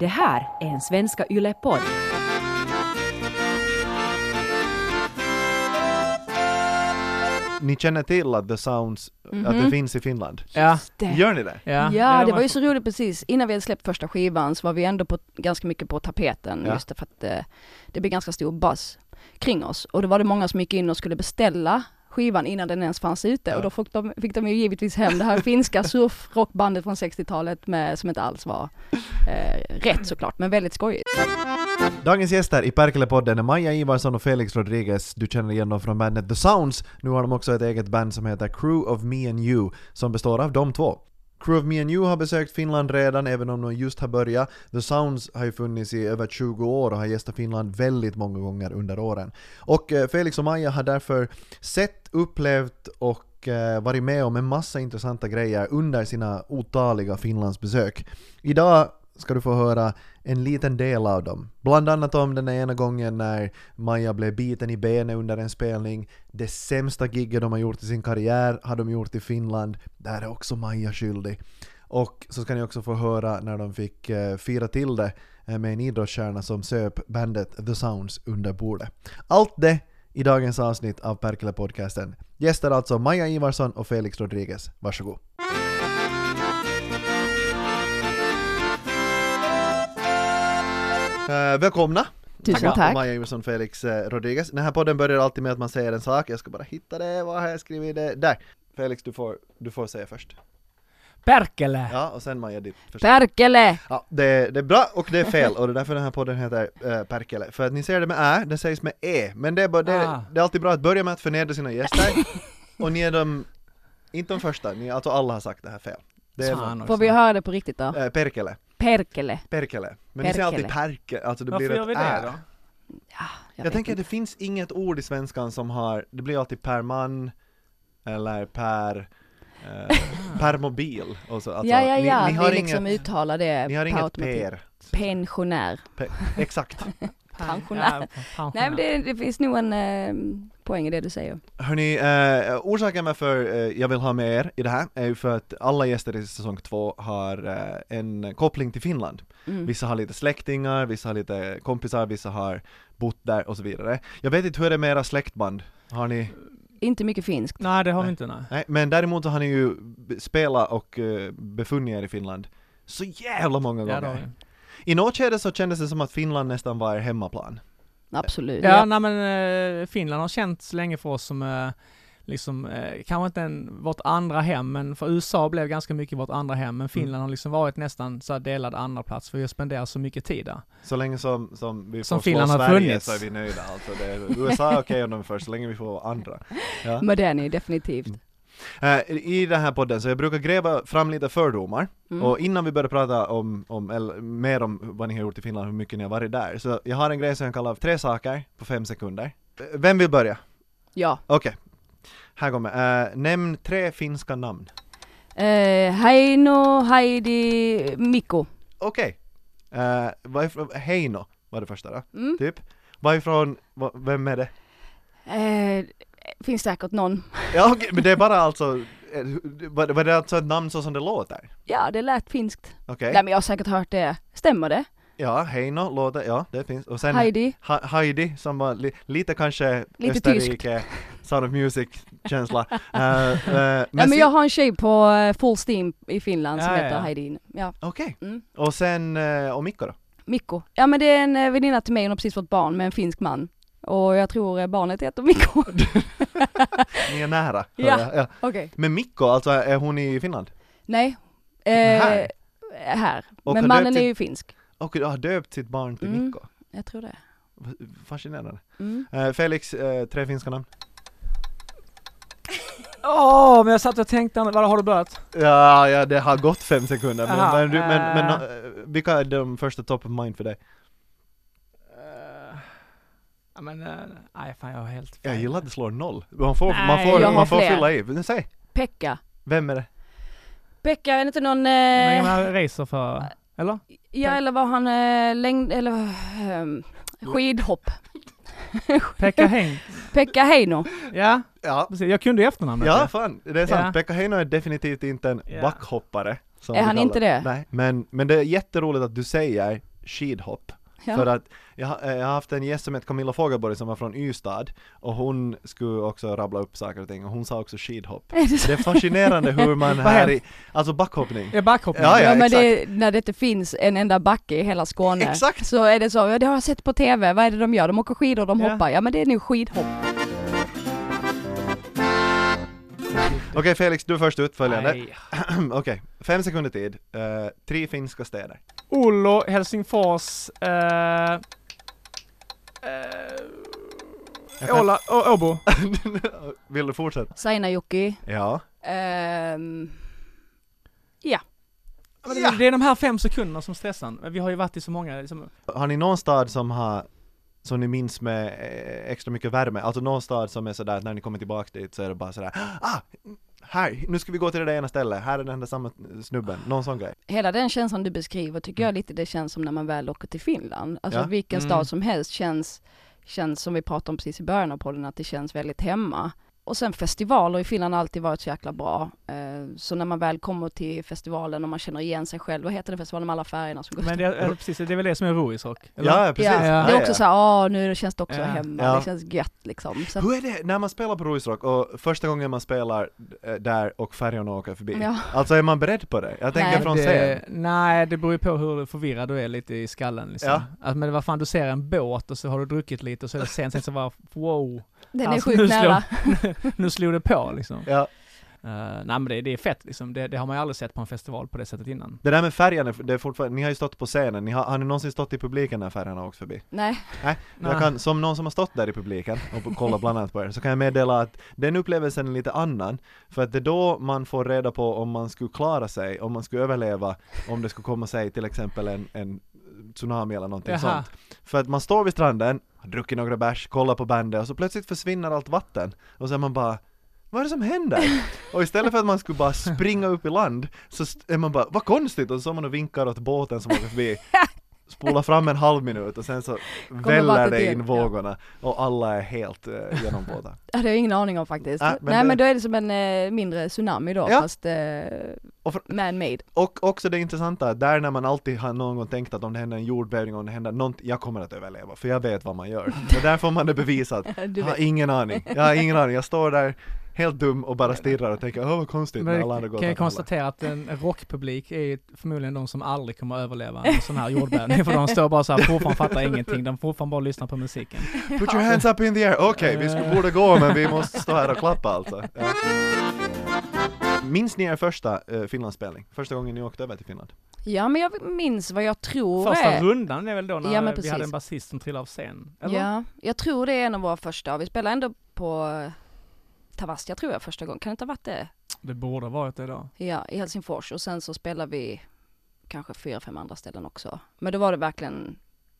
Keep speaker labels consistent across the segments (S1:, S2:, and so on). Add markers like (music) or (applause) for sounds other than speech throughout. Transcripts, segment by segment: S1: Det här är en Svenska Yle-podd.
S2: Ni känner till att The Sounds, att det
S3: Mhm.
S2: finns i Finland?
S4: Ja,
S1: Det.
S2: Gör ni det?
S4: ja.
S3: Ja, det var ju så roligt precis. Innan vi hade släppt första skivan så var vi ändå på, ganska mycket på tapeten
S2: Ja.
S3: just för att eh, det blev ganska stor buzz kring oss. Och då var det många som gick in och skulle beställa skivan innan den ens fanns ute
S2: Ja.
S3: och då fick de, fick de ju givetvis hem det här
S2: (laughs)
S3: finska surfrockbandet från 60-talet med, som inte alls var eh, rätt såklart, men väldigt skojigt.
S2: Dagens gäster i Perkele-podden är Maja Ivarsson och Felix Rodriguez. Du känner igen dem från bandet The Sounds. Nu har de också ett eget band som heter Crew of Me and You, som består av de två. Crew of Me and You har besökt Finland redan, även om de just har börjat. The Sounds har ju funnits i över 20 år och har gästat Finland väldigt många gånger under åren. Och eh, Felix och Maja har därför sett, upplevt och eh, varit med om en massa intressanta grejer under sina otaliga Finlandsbesök. Idag ska du få höra en liten del av dem. Bland annat om den ena gången när Maja blev biten i benet under en spelning. Det sämsta giget de har gjort i sin karriär har de gjort i Finland. Där är också Maja skyldig. Och så ska ni också få höra när de fick eh, fira till det eh, med en idrottsstjärna som söp bandet The Sounds under bordet. Allt det i dagens avsnitt av Perkele-podcasten. Gäster alltså Maja Ivarsson och Felix Rodriguez. Varsågod. Eh, välkomna!
S3: Tusen
S2: Maja-
S3: tack.
S2: Maja Ivarsson Felix eh, Rodriguez. Den här podden börjar alltid med att man säger en sak. Jag ska bara hitta det. Vad har jag skrivit? Det? Där! Felix, du får, du får säga först.
S4: Perkele!
S2: Ja, och sen Maja ditt först.
S3: Perkele!
S2: Ja, det, det är bra och det är fel och det är därför den här podden heter eh, Perkele. För att ni ser det med Ä, det sägs med E. Men det är, bara, det,
S4: Ah.
S2: det är alltid bra att börja med att förnedra sina gäster. och ni är de, inte de första, ni, alltså alla har sagt det här fel. Det är
S4: Fan också.
S3: Får vi höra det på riktigt då?
S2: eh, Perkele,
S3: Perkele.
S2: Perkele. Men ni säger alltid Perkele, alltså det
S4: Varför
S2: blir
S4: gör
S2: ett
S4: vi
S2: Ä.
S4: det då?
S3: Jag
S2: Jag
S3: vet
S2: tänker att
S3: inte.
S2: det finns inget ord i svenskan som har, det blir alltid per man eller per,
S3: (laughs)
S2: eh, per mobil och så. Alltså,
S3: ja, ja, ja,
S2: Ni, ni har
S3: vi
S2: inget,
S3: liksom uttalar det
S2: ni har
S3: på
S2: inget
S3: automatik.
S2: per.
S3: Pensionär.
S2: Pe- Exakt.
S3: Pensionär.
S4: Ja, pensionär.
S3: Nej men det, det finns nog en eh, poäng i det du säger.
S2: Hörni, eh, orsaken varför eh, jag vill ha med er i det här är ju för att alla gäster i säsong två har eh, en koppling till Finland.
S3: Mm.
S2: Vissa har lite släktingar, vissa har lite kompisar, vissa har bott där och så vidare. Jag vet inte hur det är med era släktband, har ni?
S3: Inte mycket finskt.
S4: Nej, det har vi inte nej.
S2: Nej, men däremot så har ni ju b- spelat och eh, befunnit er i Finland så jävla många
S4: Ja, det har vi.
S2: gånger. I något skede så kändes det som att Finland nästan var er hemmaplan.
S3: Absolut.
S4: Ja, nej men eh, Finland har känts länge för oss som eh, liksom, eh, kanske inte en, vårt andra hem, men för USA blev ganska mycket vårt andra hem,
S2: Mm.
S4: men Finland har liksom varit nästan så här delad andra plats för vi har spenderat så mycket tid där.
S2: Så länge som, som vi
S4: Som
S2: får slå
S4: Finland har
S2: Sverige
S4: funnits.
S2: så är vi nöjda. Alltså det är, USA är okej om de är först, så länge vi får vara andra. Ja.
S3: Men den är
S4: Mm.
S3: definitivt.
S2: Eh, I den här podden, så jag brukar gräva fram lite fördomar,
S3: Mm.
S2: och innan vi börjar prata om, om eller, mer om vad ni har gjort i Finland, hur mycket ni har varit där, så jag har en grej som jag kallar tre saker på fem sekunder. Eh, Vem vill börja?
S3: Ja.
S2: Okej, här kommer uh, Nämn tre finska namn.
S3: Eh, Heino, Heidi, Mikko.
S2: Okej. Eh, varifrån- Heino var det första då,
S3: Mm.
S2: typ. Varifrån, va, vem är det?
S3: Eh, finns säkert någon.
S2: Ja okej, men det är bara alltså, eh, var, var det alltså ett namn så som det låter?
S3: Ja, det lät finskt.
S2: Okej,
S3: Nej men jag har säkert hört det. Stämmer det?
S2: ja Heino låter, ja det finns. Och sen
S3: Heidi?
S2: ha, Heidi som var li, lite kanske
S3: Lite
S2: Österrike, Sound of
S3: (laughs)
S2: Music-känsla. Eh, eh,
S3: Ja men
S2: si-
S3: jag har en tjej på eh, Full Steam i Finland som
S4: Ja, ja,
S3: heter
S4: ja.
S3: Heidin. Ja.
S2: Okej,
S3: Mm.
S2: och sen, eh, och Mikko då?
S3: Mikko. Ja men det är en eh, väninna till mig, hon har precis fått barn med en finsk man. Och jag tror eh, barnet heter Mikko.
S4: (laughs)
S2: Ni är nära. hör
S3: Ja.
S2: jag. ja.
S3: Okej.
S2: Men Mikko, alltså är hon i Finland?
S3: Nej. Eh,
S2: Här?
S3: här.
S2: Och
S3: men
S2: har typ
S3: mannen
S2: döpt
S3: är
S2: sitt-
S3: ju finsk.
S2: Och du har döpt sitt barn till
S3: Mm.
S2: Mikko.
S3: Jag tror det.
S2: V- Fascinerande.
S3: Mm.
S2: Eh, Felix, eh, tre finska namn?
S4: Åh, men jag satt och tänkte, vad har du börjat?
S2: Ja, ja, det har gått fem sekunder, men,
S4: Aha,
S2: men, du, men, men
S4: eh.
S2: eh, vilka är de första top of mind för dig?
S4: Eh, Ja men, eh, nej fan jag har helt fel.
S2: Jag gillar att det slår noll. Man får, man
S4: Nej,
S2: får,
S4: jag
S2: man
S3: har
S2: får
S3: fler.
S2: fylla i. Men säg,
S3: Pekka.
S2: vem är det?
S3: Pekka, är det inte någon...
S4: Men
S3: Eh,
S4: jag racer för, eller?
S3: ja eller var han eh, längd... Eller... ehm,
S2: Mm.
S3: skidhopp.
S4: Pekka Häng.
S3: Pekka Heino. (laughs)
S4: Ja,
S2: Ja,
S4: precis. Jag kunde ju efternamnet.
S2: ja
S4: ju.
S2: fan, det är sant.
S4: Ja.
S2: Pekka Heino är definitivt inte en
S4: Ja.
S2: backhoppare. som
S3: Är
S2: vi
S3: han
S2: kallar
S3: inte det?
S2: Nej, men, men det är jätteroligt att du säger skidhopp.
S3: Ja.
S2: För att jag, har- eh, jag har haft en gäst som heter Camilla Fogelborg som var från Ystad och hon skulle också rabbla upp saker och ting och hon sa också skidhopp.
S3: Är det så?
S2: Det är fascinerande hur man
S4: Vad
S2: här
S4: händer?
S2: i, alltså backhoppning.
S4: Är backhoppning?
S2: Ja, ja.
S3: men
S2: exakt.
S3: det, när det inte finns en enda backe i hela Skåne
S2: Exakt.
S3: så är det så, ja, det har jag sett på TV, vad är det de gör? De åker skidor, de
S2: Ja.
S3: hoppar, ja men det är nu skidhopp.
S2: Okej Felix, du är först ut följande.
S4: Nej.
S2: (clears throat) Okej, fem sekunder tid. Eh, tre finska städer. (laughs)
S4: Ollo, Helsingfors, eh, eh,
S2: Jag kan-
S4: Åla,
S2: (laughs)
S4: Å- Åbo.
S2: Vill du fortsätta?
S3: Seinäjoki,
S2: Ja.
S3: ehm,
S4: Ja, men det- Det är de här fem sekunderna som stressar en. Vi har ju varit i så många, liksom,
S2: Har ni någon stad som har som ni minns med eh, extra mycket värme? Alltså någon stad som är sådär att när ni kommer tillbaka dit så är det bara sådär ah! Här, nu ska vi gå till det där ena stället, här är den där samma snubben, någon sån grej.
S3: hela den känslan du beskriver tycker jag lite det känns som när man väl åker till Finland. Alltså
S2: Ja.
S3: vilken
S4: Mm.
S3: stad som helst känns, känns som vi pratade om precis i början av podden, att det känns väldigt hemma. Och sen festivaler i Finland har alltid varit så jäkla bra. Eh, Så när man väl kommer till festivalen och man känner igen sig själv, vad heter den festivalen med alla färgerna som går
S4: men det, är- precis, det är väl det som är rois rock? eller?
S2: Ja, precis.
S3: Ja,
S4: Ja,
S3: det är
S2: ja,
S3: också
S2: ja.
S3: så här, åh nu känns det också
S4: Ja.
S3: hemma,
S2: Ja.
S3: det känns gött liksom. Så att,
S2: Hur är det när man spelar på Ruisrock och första gången man spelar eh, där och färjorna åker förbi?
S3: ja.
S2: Alltså är man beredd på det? Jag tänker
S3: Nej.
S2: från scen.
S4: det, nej, det beror ju på hur förvirrad du är lite i skallen liksom.
S2: Ja.
S4: Att, men vad fan, du ser en båt och så har du druckit lite och så är det sen, sen så bara wow,
S3: Den är
S4: Alltså,
S3: sjukt
S4: nu slår-
S3: nära.
S4: nu slog det på liksom.
S2: Ja,
S4: Eh, nej men det, det är fett liksom, det, det har man ju aldrig sett på en festival på det sättet innan.
S2: det där med färjan, är- det är fortfarande, ni har ju stått på scenen, ni har, har ni någonsin stått i publiken när färjan har åkt förbi?
S3: Nej,
S2: Jag kan, som någon som har stått där i publiken och kollat bland annat på er, så kan jag meddela att den upplevelsen är lite annan, för att det är då man får reda på om man skulle klara sig, om man skulle överleva, om det skulle komma sig till exempel en, en tsunami eller någonting
S4: Jaha.
S2: sånt. För att man står vid stranden, har druckit några bärs, kollar på bandet och så plötsligt försvinner allt vatten och så är man bara vad är det som händer?
S3: (laughs)
S2: Och istället för att man skulle bara springa upp i land så st- är man bara, vad konstigt! Och så står man och vinkar åt båten som åker
S3: (laughs)
S2: förbi spola fram en halv minut och sen så väller
S3: vattnet
S2: det in
S3: igen, ja.
S2: vågorna och alla är helt eh, genomvåda.
S3: det hade jag ingen aning om faktiskt.
S2: Nej, men
S3: Nej
S2: det-
S3: men då är det som en eh, mindre tsunami då,
S2: Ja.
S3: fast eh,
S2: Och för-
S3: man-made.
S2: Och också det intressanta, där när man alltid har någon gång tänkt att om det händer en jordbävning, om det händer någonting, jag kommer att överleva för jag vet vad man
S3: (laughs)
S2: gör. Men där får man det bevisat.
S3: Du
S2: Jag har
S3: vet.
S2: ingen aning, jag har
S3: (laughs)
S2: ingen aning, jag står där helt dum och bara stirrar och tänker åh vad konstigt när
S4: Men
S2: alla andra går
S4: kan jag
S2: åt andra hållet."
S4: konstatera att en rockpublik är ju förmodligen de som aldrig kommer att överleva en sån här jordbävning, för de står bara såhär, fortfarande fattar ingenting, de fortfarande bara lyssnar på musiken.
S2: Put your hands up in the air! Okej, vi skulle borde gå men
S3: (laughs)
S2: vi måste stå här och klappa alltså. Ja. Minns ni er första eh, Finlandsspelning? Första gången ni åkte över till Finland?
S3: Ja men jag minns vad jag tror
S4: Första
S3: är.
S4: rundan är väl då när
S3: Ja, men
S4: vi
S3: precis.
S4: hade en basist som trillade av scen? Eller?
S3: Ja, jag tror det är en av våra första, och vi spelade ändå på eh, Tavastia tror jag första gången, kan det inte ha varit det?
S4: Det borde ha varit det då.
S3: Ja, i Helsingfors och sen så spelade vi kanske fyra, fem andra ställen också. Men då var det verkligen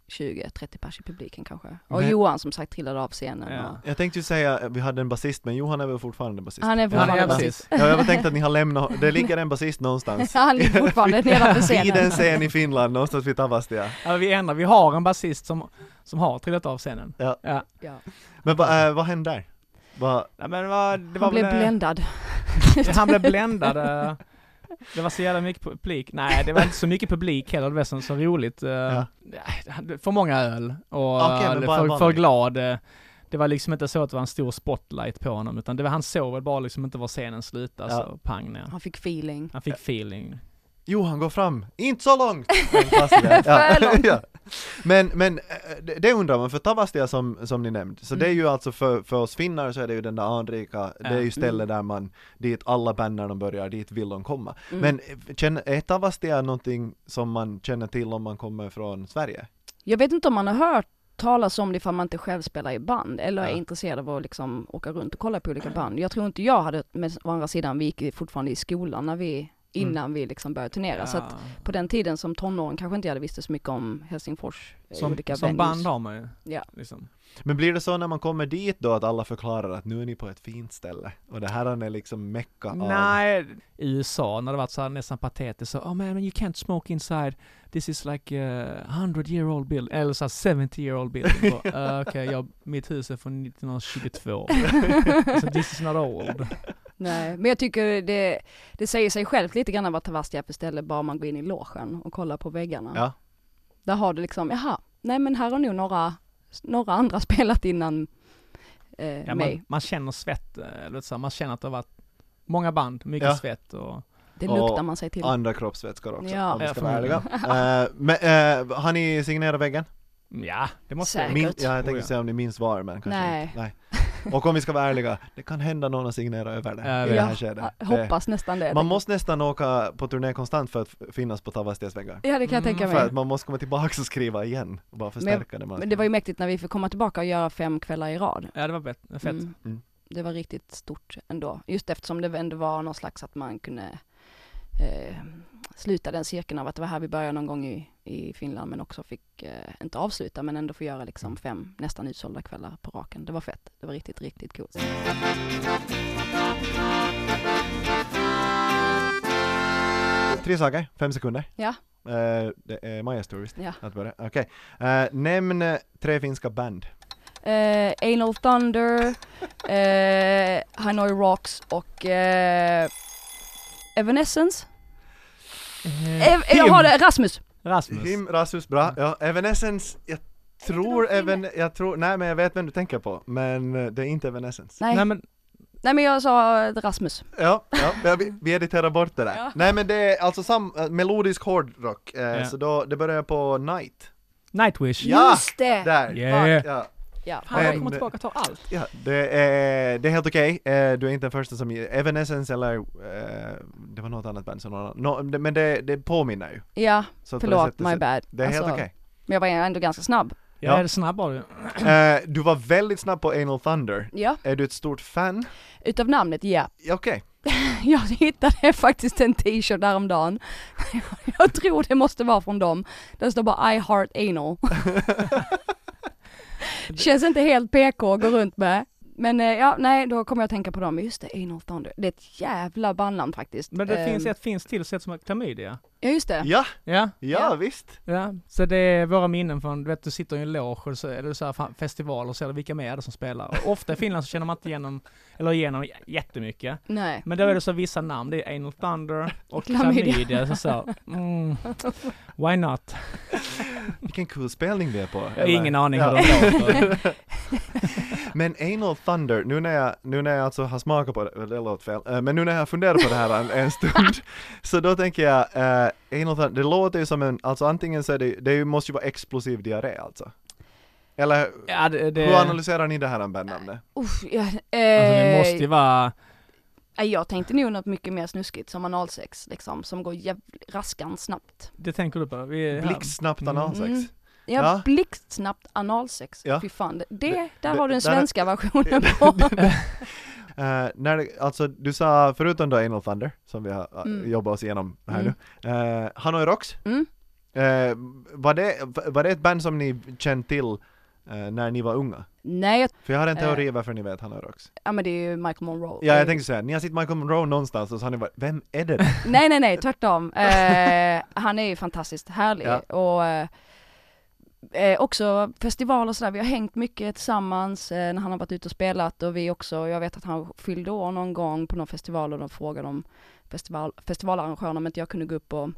S3: 20-30 pers i publiken kanske. Och
S2: Men-
S3: Johan som sagt trillade av scenen.
S4: Ja.
S3: Och... (laughs)
S2: Jag tänkte ju säga att vi hade en basist, men Johan är väl fortfarande basist?
S3: Han är fortfarande
S4: ja,
S3: basist.
S4: precis.
S2: Ja, jag tänkte att ni har lämnat, det ligger en basist någonstans.
S3: Han
S2: (laughs)
S3: ligger fortfarande
S4: (laughs)
S3: nedanför
S2: Vid en
S3: scenen.
S2: scen i Finland, någonstans vid Tavastia.
S4: Ja, vi ändrar, vi har en basist som, som har trillat av scenen.
S2: Ja.
S4: ja.
S3: Ja.
S2: Men va, eh, vad hände där? Va,
S4: Nej, men det var, det var
S3: Han blev
S4: väl, eh,
S3: bländad.
S4: (laughs) Han blev bländad. eh. Det var så jävla mycket publik. Nej, det var inte så mycket publik heller. Det var så, så roligt. eh.
S2: Ja.
S4: Nej, För många öl och
S2: Okej, men
S4: eh,
S2: bara
S4: för,
S2: vanligt.
S4: för glad. eh. Det var liksom inte så att det var en stor spotlight på honom, utan det var, han såg väl bara liksom inte var scenen slutade,
S2: Ja.
S4: så pang ner.
S3: Han fick feeling.
S4: Han fick feeling.
S2: Johan går fram, inte så långt!
S4: (laughs)
S2: Fantastiskt. Ja.
S3: För
S2: (laughs)
S3: långt.
S2: Ja. Men, men eh, det- det undrar man, för Tavastia som, som ni nämnde, så det är ju alltså för, för oss finnar så är det ju den där anrika, det är ju
S4: Mm. Ja. Mm.
S2: stället där man, dit alla band när de börjar, dit vill de komma.
S4: Mm.
S2: Men eh, känner, är Tavastia någonting som man känner till om man kommer från Sverige?
S3: Jag vet inte om man har hört talas om det ifall man inte själv spelar i band eller är
S2: Ja.
S3: intresserad av att liksom åka runt och kolla på olika band. Jag tror inte jag hade, men å andra sidan vi gick ju fortfarande i skolan när
S4: Mm.
S3: vi, innan vi liksom började turnera. Så att på den tiden som tonåring kanske inte jag hade visste så mycket om Helsingfors eh,
S4: som
S3: olika
S4: som
S3: venues.
S4: band har man ju.
S3: Ja.
S4: Liksom.
S2: Men blir det så när man kommer dit då att alla förklarar att nu är ni på ett fint ställe och det här är liksom mecka av...
S4: Nej, i USA när det varit så här nästan patetiskt så, oh man you can't smoke inside, this is like a 100 year old building, eller så här 70 year old building. Bara, "Eh, Okej, jag mitt hus är från 1922. så this is not old.
S3: Nej, men jag tycker det, det säger sig självt lite grann vad Tavastia är för ställe, bara man går in i logen och kollar på väggarna.
S2: Ja.
S3: Där har du liksom, jaha, nej men här har nog några, några andra (laughs) spelat innan eh,
S4: Ja,
S3: mig.
S4: man, man känner svett, eh, eller så här, man känner att det har varit många band, mycket
S2: Ja.
S4: svett och
S3: Det
S2: och-
S3: luktar man sig till.
S2: Andra kroppsvätskor också,
S3: Ja.
S2: om vi
S4: Ja,
S2: ska vara ärliga.
S4: förmodligen.
S2: Eh, men, eh, har ni signerat väggen?
S4: mm, ja, det måste
S3: Säkert.
S2: Min, ja, jag
S4: Oh,
S2: tänkte
S4: ja.
S2: säga om ni minns var, men kanske
S3: Nej.
S2: inte. Nej. Och om vi ska vara ärliga, det kan hända någon har signerat över det
S4: Ja,
S2: i det här
S3: ja,
S2: skedet.
S3: jag
S2: Det,
S3: Hoppas nästan det.
S2: man måste nästan åka på turné konstant för att f- finnas på Tavastias väggar.
S3: Ja det kan jag
S4: Mm,
S3: tänka
S2: För
S3: mig.
S2: att man måste komma tillbaka och skriva igen och bara förstärka det man
S3: Men det var ju mäktigt när vi fick komma tillbaka och göra fem kvällar i rad.
S4: Ja, det var bet- fett.
S3: Mm.
S2: Mm.
S3: Det var riktigt stort ändå. Just eftersom det ändå var någon slags att man kunde eh, sluta den cirkeln av att det var här vi började någon gång i, i Finland men också fick, eh, inte avsluta men ändå få göra
S2: Mm.
S3: liksom fem nästan utsålda kvällar på raken. Det var fett. Det var riktigt, riktigt coolt.
S2: Tre saker, fem sekunder.
S3: Ja.
S2: Eh, det är Maja Stories
S3: Ja.
S2: att börja. Okej. Eh, nämn eh, tre finska band.
S3: Eh, Anal Thunder, eh, Hanoi Rocks och eh, Evanescence.
S4: Eh,
S3: Ev- jag har det, Rasmus!
S4: Rasmus.
S2: Him, Rasmus, bra.
S4: Mm.
S2: Ja, Evanescence, jag tror
S3: de
S2: även, jag tror, nej men jag vet vem du tänker på, men eh, det är inte Evanescence.
S3: Nej, nej.
S4: Nej men,
S3: men jag sa eh, Rasmus.
S2: Ja, ja, ja vi, vi editerar bort det där.
S3: Ja.
S2: Nej men det är alltså sam, eh, melodisk hårdrock, eh,
S4: Ja.
S2: så då, det börjar på Night.
S4: Nightwish.
S2: Ja!
S3: Just det!
S2: Där!
S4: Yeah.
S2: Ja,
S3: Ja.
S4: Han
S2: Men-
S4: kommer tillbaka och tar allt.
S2: ja, det, är, det är helt okej, Eh, du är inte den första som, Evanescence eller, eh, det var något annat band som någon annan, nå- det- men det, det påminner ju.
S3: Ja,
S2: Så på det
S3: förlåt,
S2: sättet
S3: my
S2: så-
S3: bad.
S2: Det är helt
S3: Alltså,
S2: okej.
S3: Men jag var ändå ganska snabb.
S4: Ja,
S2: Ja.
S4: är det snabb var du.
S2: Eh, du var väldigt snabb på Anal Thunder.
S3: Ja,
S2: Är du ett stort fan?
S3: utav namnet ja. (laughs)
S2: Ja, Okej.
S3: Jag hittade (laughs) faktiskt en t-shirt häromdagen. (laughs) Jag tror det måste vara från dem. Där står bara I heart anal. (laughs) Känns inte helt PK att gå runt med. Men eh, ja, nej, då kommer jag att tänka på dem. Just det, Anal Thunder. Det är ett jävla bandnamn faktiskt.
S4: Men det
S3: Eh,
S4: finns ett finns till sett som klamydia.
S3: Ja, just det.
S2: Ja,
S4: Ja,
S2: ja,
S3: Ja.
S2: visst.
S4: ja. Så det är våra minnen från, du vet du sitter i en loge och så är det så här fa- festivaler och ser vilka mer är det som spelar. Och ofta i Finland så känner man inte igenom, eller igenom j- jättemycket.
S3: Nej.
S4: Men då är det så vissa namn, det är Anal Thunder och
S3: Chlamydia.
S4: Klamydia. Så, så här, mm, why not?
S2: Vilken kul spelning vi är på.
S4: Jag har ingen aning hur
S2: Ja.
S4: de låter.
S2: Men Anal Thunder, nu när jag, nu när jag alltså har smakat på det, eller det låter fel, Eh, men nu när jag funderar på det här en, en stund, så då tänker jag, eh, Anal Thunder, det låter ju som en, alltså antingen så är det, det måste ju vara explosiv diarré alltså. Eller
S4: (laughs) Ja, det, det,
S2: hur analyserar ni det här bandnamnet?
S3: Usch, ja,
S4: alltså, det
S3: eh,
S4: måste ju vara,
S3: nej, Jag tänkte nog något mycket mer snuskigt som analsex liksom, som går jävligt raskan snabbt.
S4: det tänker du på? Vi är här.
S2: Blixtsnabbt
S4: Mm.
S2: analsex.
S3: Mm. Ja,
S2: Ja.
S3: blixtsnabbt analsex.
S2: Ja.
S3: Fy fan, det, det, där
S2: det-
S3: har du
S2: där-
S3: den svenska versionen på.
S2: Eh, när det, alltså du sa, förutom då Anal Thunder, som vi har eh,
S3: Mm.
S2: jobbat oss igenom här
S3: Mm.
S2: nu, uh, Hanoi Rocks,
S3: Mm.
S2: Eh, var, det, var det ett band som ni kände till eh, när ni var unga?
S3: Nej, jag-
S2: För jag har en teori varför ni vet Hanoi Rocks.
S3: ja men det är ju Michael Monroe.
S2: Ja, jag tänkte säga, ni har sett Michael Monroe någonstans och så har ni varit, vem är det? där?"
S3: Nej, nej, nej,
S2: (laughs)
S3: tvärtom. Eh, han är ju fantastiskt härlig
S2: Ja.
S3: och eh, eh, också festivaler och sådär. Vi har hängt mycket tillsammans eh, när han har varit ute och spelat och vi också, jag vet att han fyllde år någon gång på någon festival och de frågade om festival, festivalarrangören om inte jag kunde gå upp och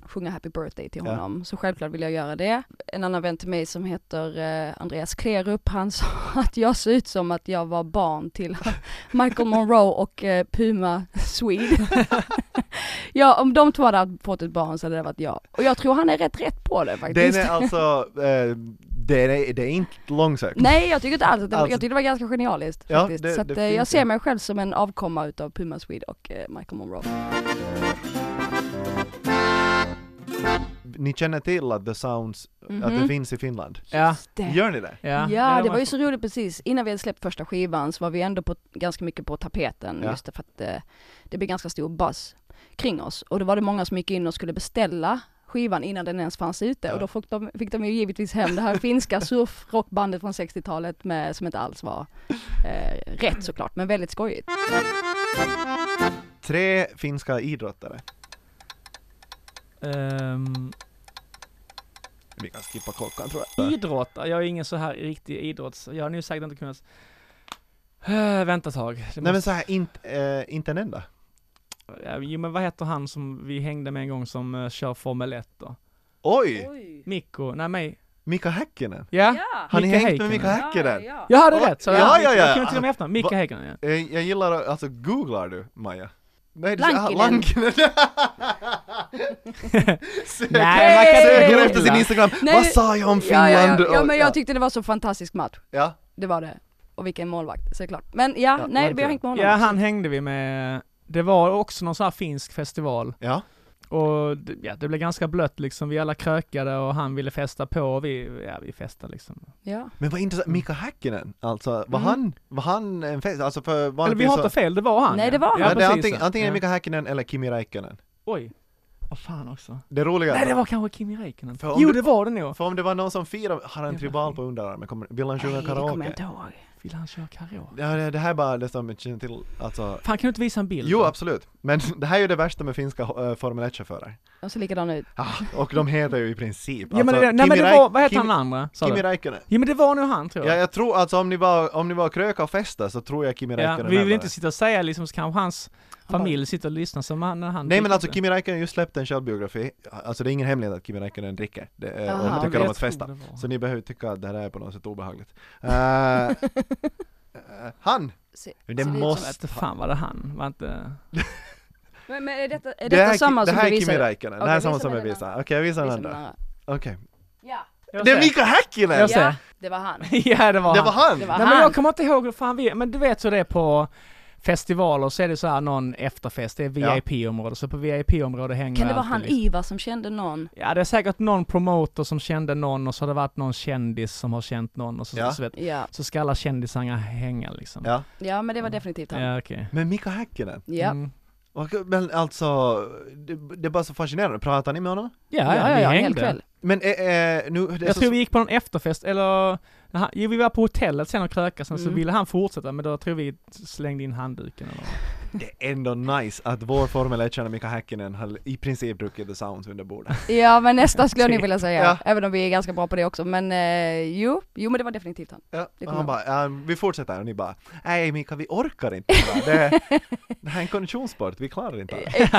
S3: sjunga happy birthday till
S2: Ja.
S3: honom. Så självklart vill jag göra det. En annan vän till mig som heter eh, Andreas Klerup, han sa (laughs) att jag ser ut som att jag var barn till (laughs) Michael Monroe och eh, Puma Swede. (laughs) ja, om de två hade fått ett barn så hade det varit jag. Och jag tror han är rätt rätt på det faktiskt.
S2: Den är alltså, eh, det, är, det är inte långsökt.
S3: Nej, jag tycker inte alls att det,
S2: Alltså-
S3: jag tycker det var ganska genialiskt
S2: Ja,
S3: faktiskt.
S2: det-
S3: så att,
S2: det
S3: eh, jag
S2: finns
S3: ser
S2: det.
S3: mig själv som en avkomma utav Puma Swede och eh, Michael Monroe.
S2: Ni känner till att The Sounds, att det
S3: Mhm.
S2: finns i Finland?
S4: Ja,
S3: Det.
S2: Gör ni det?
S4: ja.
S3: Ja, det var
S4: man-
S3: ju så roligt precis. Innan vi hade släppt första skivan så var vi ändå på, ganska mycket på tapeten
S2: Ja.
S3: just för att eh, det blev ganska stor buzz kring oss. Och då var det många som gick in och skulle beställa skivan innan den ens fanns ute
S2: Ja.
S3: och då fick de, fick de ju givetvis hem det här finska surfrockbandet från 60-talet med, som inte alls var eh, rätt såklart, men väldigt skojigt.
S2: Tre finska idrottare.
S4: Ehm,
S2: Vi kan skippa
S4: (laughs)
S2: klockan tror jag.
S4: Idrott? Jag är ingen så här riktig idrotts... Jag har nu säkert inte kunnat... Eh, (sighs) vänta ett tag. Det
S2: Nej men
S4: måste-
S2: så här, inte, eh, inte en enda.
S4: Eh, Jo men vad heter han som vi hängde med en gång som eh, kör Formel 1 då?
S2: Oj!
S4: Mikko, nej mig.
S2: Mika Häkkinen.
S4: Ja?
S2: Har ni
S4: Mika
S2: hängt med
S4: Häkkinen.
S2: Mika Häkkinen?
S4: Jag hade
S2: Oj,
S4: rätt! Så
S2: ja,
S4: jag-
S2: ja, ja.
S4: Jag kunde till och med efternamn, Micke
S2: Va-
S4: Häkkinen.
S2: (laughs)
S4: ja.
S2: Eh, Jag gillar, att- alltså googlar du Maja? Nej, aha,
S3: Lankinen.
S2: Lankinen! (laughs)
S4: Nej, man kan inte
S2: Söker
S4: googla.
S2: efter sin Instagram,
S3: Nej.
S2: vad sa jag om
S3: Ja,
S2: Finland?
S3: ja, ja. ja
S2: Och-
S3: men jag tyckte det var så fantastisk match,
S2: ja.
S3: det var det. Och vilken målvakt, såklart. Men ja,
S2: Ja,
S3: nej, vi
S2: verkligen.
S3: har hängt med honom.
S4: Ja, han hängde vi med. Det var också någon sån här finsk festival
S2: ja.
S4: och d- ja, det blev ganska blött liksom. Vi alla krökade och han ville festa på och vi, ja vi festade liksom.
S3: Ja.
S2: Men vad intressant, Mika Häkkinen, alltså var
S4: Mm.
S2: han, var han en fest, alltså för
S4: Eller vi
S2: vanligtvis
S4: har inte fel, det var han.
S3: Nej,
S4: ja.
S3: det var han.
S4: Ja,
S2: Ja, det är
S4: precis,
S2: antingen,
S4: ja.
S2: antingen
S4: Ja.
S2: Mika Häkkinen eller Kimi Räikkönen.
S4: Oj. Vad fan också.
S2: Det roliga
S4: Nej, det var kanske Kimi Räikkönen.
S2: För om
S4: Jo,
S2: du-
S4: det var det nog.
S2: För om det var någon som firade, har han
S4: Ja,
S2: tribal
S4: verkligen.
S2: på underarmen? Kommer, vill han sjunga
S3: Nej, det kommer jag
S2: karaoke?
S3: inte ihåg.
S4: Vill han köra karaoke?
S2: Ja, det, det här är bara det som jag känner till, alltså.
S4: Fan, kan du inte visa en bild?
S2: Jo,
S4: då?
S2: absolut. Men (laughs) det här är ju det värsta med finska eh, Formel 1-chaufförer.
S3: De ser likadana ut.
S2: Ja, och de heter ju i princip.
S4: Ja men, det, nej,
S2: Kimi
S4: men det
S2: alltså, Räik-
S4: var, vad heter
S2: Kimi-
S4: han den andra? Sa
S2: Kimi
S4: du?
S2: Räikkönen.
S4: Ja men det var nog han tror
S2: Ja,
S4: jag.
S2: jag tror alltså om ni var, om ni var kröka och festa så tror jag Kimi
S4: Ja,
S2: Räikkönen
S4: vi vill
S2: nämnde
S4: inte
S2: det.
S4: sitta och säga liksom, så kanske hans familj sitter och lyssnar som han, när han
S2: Nej men
S4: tyckte
S2: alltså
S4: det.
S2: Kimi Räikkönen har just släppt en självbiografi, alltså det är ingen hemlighet att Kimi Räikkönen dricker det, är-
S3: Aha,
S2: och
S4: Ja,
S2: tycker
S4: jag
S2: om att
S4: tror
S2: festa.
S4: det var.
S2: Så ni behöver tycka att det här är på något sätt obehagligt. Eh, eh, han!
S3: (laughs) Se-
S2: Det
S3: ser ut som-
S4: Jag
S2: måste...
S4: vet inte fan var det han, var inte...
S3: Men, men är detta,
S2: Det
S3: är detta
S2: här, är Ki-
S3: samma
S2: det
S3: som
S2: här
S3: du
S2: är Kimi
S3: visade?
S2: Räikkönen, det
S3: Okej,
S2: här är samma
S3: visa
S2: som
S3: mig
S2: jag
S3: den
S2: visade. Okej, jag visar den
S3: Visar den
S2: andra.
S3: andra.
S2: Okej.
S3: Ja,
S2: Det är Mika Häkkinen!
S4: Jag ser.
S3: ja, det var han.
S4: (laughs) Ja det var
S2: Det
S4: han.
S2: var han!
S3: Det var
S4: Nej
S3: han.
S4: men jag kommer inte ihåg hur fan vi, men du vet så det är på festivaler så är det så här någon efterfest, det är
S2: Ja.
S4: VIP-område, så på VIP-område hänger
S3: Kan det vara
S4: alltid
S3: han
S4: liksom-
S3: Ivar som kände någon?
S4: Ja det är säkert någon promoter som kände någon och så har det varit någon kändis som har känt någon och så,
S2: Ja.
S4: så, vet,
S3: Ja,
S4: så ska alla kändisarna hänga liksom.
S2: Ja.
S3: ja men det var definitivt han.
S4: Ja, okej.
S2: Men Mika Häkkinen,
S3: Ja.
S4: Mm.
S2: Och- men alltså, det, det är bara så fascinerande. Pratar ni med honom?
S4: Ja, ja, ja, vi
S3: en hel
S4: hängde.
S3: kväll.
S2: Men eh, eh, nu, det är
S4: Jag
S2: så
S4: tror vi gick på någon efterfest, eller, när han- jo, vi var på hotellet sen och krökade, sen så
S3: Mm.
S4: ville han fortsätta, men då tror vi slängde in handduken eller
S2: Det är ändå nice att vår Formel 1-stjärna Mika Häkkinen har i princip druckit The Sounds under bordet.
S3: Ja men nästan skulle jag nog vilja
S2: (laughs)
S3: säga,
S2: Ja.
S3: även om vi är ganska bra på det också. Men eh, jo, jo men det var definitivt han.
S2: Ja,
S3: Det
S2: och
S3: kommer
S2: han
S3: jag
S2: bara, "Ja, vi fortsätter och ni bara, nej Mika vi orkar inte. va? Det, det här är en konditionssport, vi klarar
S3: (laughs)
S2: inte det.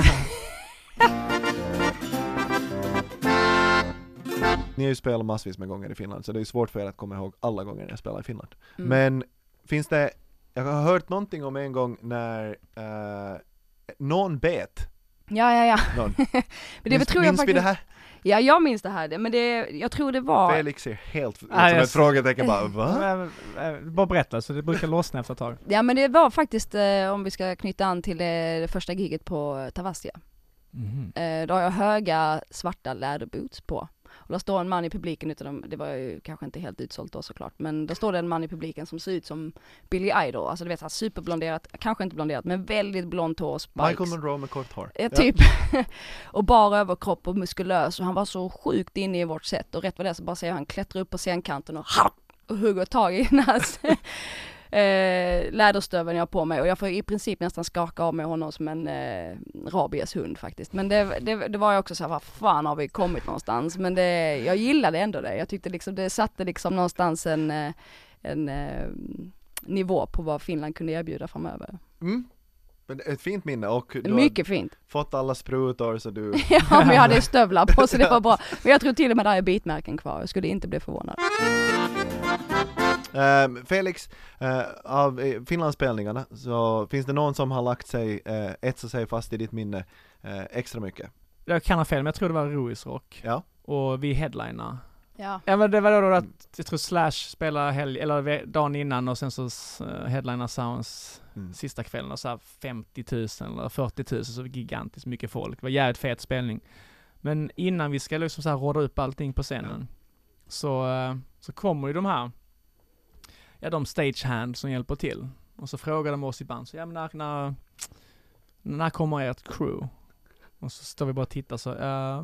S2: Ni har ju spelat massvis med gånger i Finland, så det är ju svårt för er att komma ihåg alla gånger jag spelar i Finland.
S3: Mm.
S2: Men finns det, jag har hört någonting om en gång när eh, någon bet
S3: Ja ja ja.
S2: någon.
S3: Men (laughs) det
S2: minns
S3: tror jag
S2: minns vi
S3: faktiskt.
S2: det här?
S3: Ja jag minns det här, men det, jag tror det var...
S2: Felix ser helt ut som
S4: jag
S2: ett
S4: ser-
S2: frågetecken bara,
S4: (laughs)
S2: va?
S4: något. Men, eh, Bara berätta, så det brukar lossna efter ett tag.
S3: Ja men det var faktiskt, eh, om vi ska knyta an till eh, det första giget på eh, Tavastia.
S2: Mhm.
S3: Eh, då har jag höga svarta läderboots på. Och då står en man i publiken, utan de, det var ju kanske inte helt utsålt då såklart, men då står det en man i publiken som ser ut som Billy Idol, alltså du vet såhär superblonderat, kanske inte blonderat, men väldigt blont hår och spikes.
S2: Michael Monroe med kort hår.
S3: Ja, typ. (laughs) och bara överkropp och muskulös och han var så sjukt inne i vårt sätt och rätt vad det är så bara ser jag han klättra upp på scenkanten och, hack! och hugger tag i (laughs) hans eh, läderstöveln jag har på mig och jag får i princip nästan skaka av mig honom som en eh, rabieshund faktiskt. Men det, det, det var jag också såhär, vad fan har vi kommit någonstans? Men det, jag gillade ändå det. Jag tyckte liksom det satte liksom någonstans en, eh, en eh, nivå på vad Finland kunde erbjuda framöver.
S2: Mm. Men ett fint minne och du har
S3: Mycket fint.
S2: fått alla sprutor så du...
S3: (laughs) Ja men jag hade stövlar på så det var bra. Men jag tror till och med där är bitmärken kvar, jag skulle inte bli förvånad.
S2: Ehm, Felix, eh, av eh, Finlandsspelningarna så finns det någon som har lagt sig, uh, etsat sig fast i ditt minne eh, extra mycket?
S4: Jag kan ha fel, men jag tror det var Ruiz Rock.
S2: Ja.
S4: Och vi headliner.
S3: Ja.
S4: Ja men det var då att, jag tror Slash spelade helg, eller ve- dagen innan och sen så s- eh, headliner Sounds
S2: Mm.
S4: sista kvällen och så här 50 000 eller 40 000 så gigantiskt mycket folk. Det var jävligt fet spelning. Men innan vi ska liksom så här råda upp allting på scenen så, eh, så kommer ju de här, ja de stagehand som hjälper till. Och så frågar de oss i band, så ja men när, när, när kommer ert crew? Och så står vi bara och tittar så, "Eh,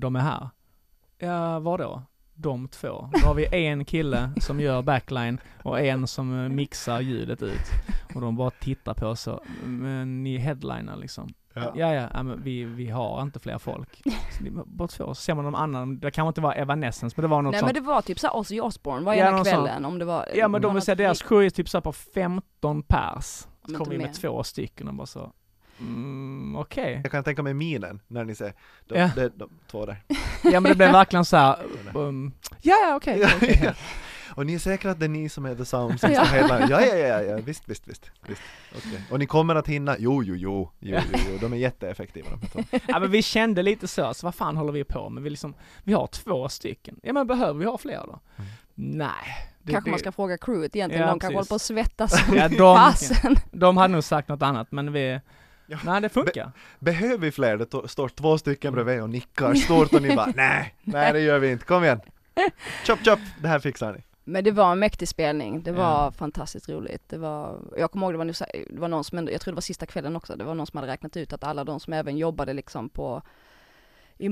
S4: de är här. Ja, vadå? De två. Då har vi en kille som gör backline och en som eh, mixar ljudet ut. Och de bara tittar på oss så, men ni headliner liksom.
S2: Ja.
S4: Ja, ja, ja men vi, vi har inte fler folk. Så det är Bara två, så ser man någon annan, det kanske inte var Evanescence men det var något
S3: Nej
S4: sånt.
S3: men det var typ såhär Ozzy Osbourne var
S4: Ja,
S3: ena
S4: någon
S3: kvällen om det var
S4: Ja men de
S3: någon
S4: vill säga
S3: annan
S4: deras crew är typ såhär på 15 pers.
S3: Ja, men
S4: Kom
S3: inte
S4: vi med
S3: mer.
S4: två stycken och bara så, mm, okej.
S2: Jag kan tänka mig minen när ni ser de,
S4: Ja.
S2: de, de två där.
S4: Ja men det blev
S2: (laughs)
S4: verkligen såhär, um, ja ja, okej.
S2: Ja,
S4: okej, okej.
S2: ja. Och ni är säkra att det är ni som är the sound som ska hela... Ja, ja, ja, ja, visst, visst, visst. visst. Okej. Och ni kommer att hinna? Jo, jo, jo, jo, jo, jo. de är jätteeffektiva de här två.
S4: (laughs) Ja men vi kände lite så, så vad fan håller vi på med? Vi liksom, vi har två stycken. Ja men behöver vi ha fler då?
S2: Mm.
S4: Nej. det-
S3: Kanske
S4: det-
S3: man ska fråga crewet egentligen,
S4: Ja,
S3: de kanske håller
S4: precis.
S3: på att svettas som
S4: (laughs) Ja, de,
S3: fasen.
S4: de hade nog sagt något annat men vi,
S2: Ja.
S4: nej det funkar.
S2: Behöver vi fler? Det to- står två stycken bredvid och nickar stort och ni bara nej, nej det gör vi inte, kom igen! Chop, chop, det här fixar ni!
S3: Men det var en mäktig spelning, det var
S4: Ja.
S3: fantastiskt roligt. Det var, jag kommer ihåg, det var, nog så- det var någon som, ändå- jag tror det var sista kvällen också, det var någon som hade räknat ut att alla de som även jobbade liksom på i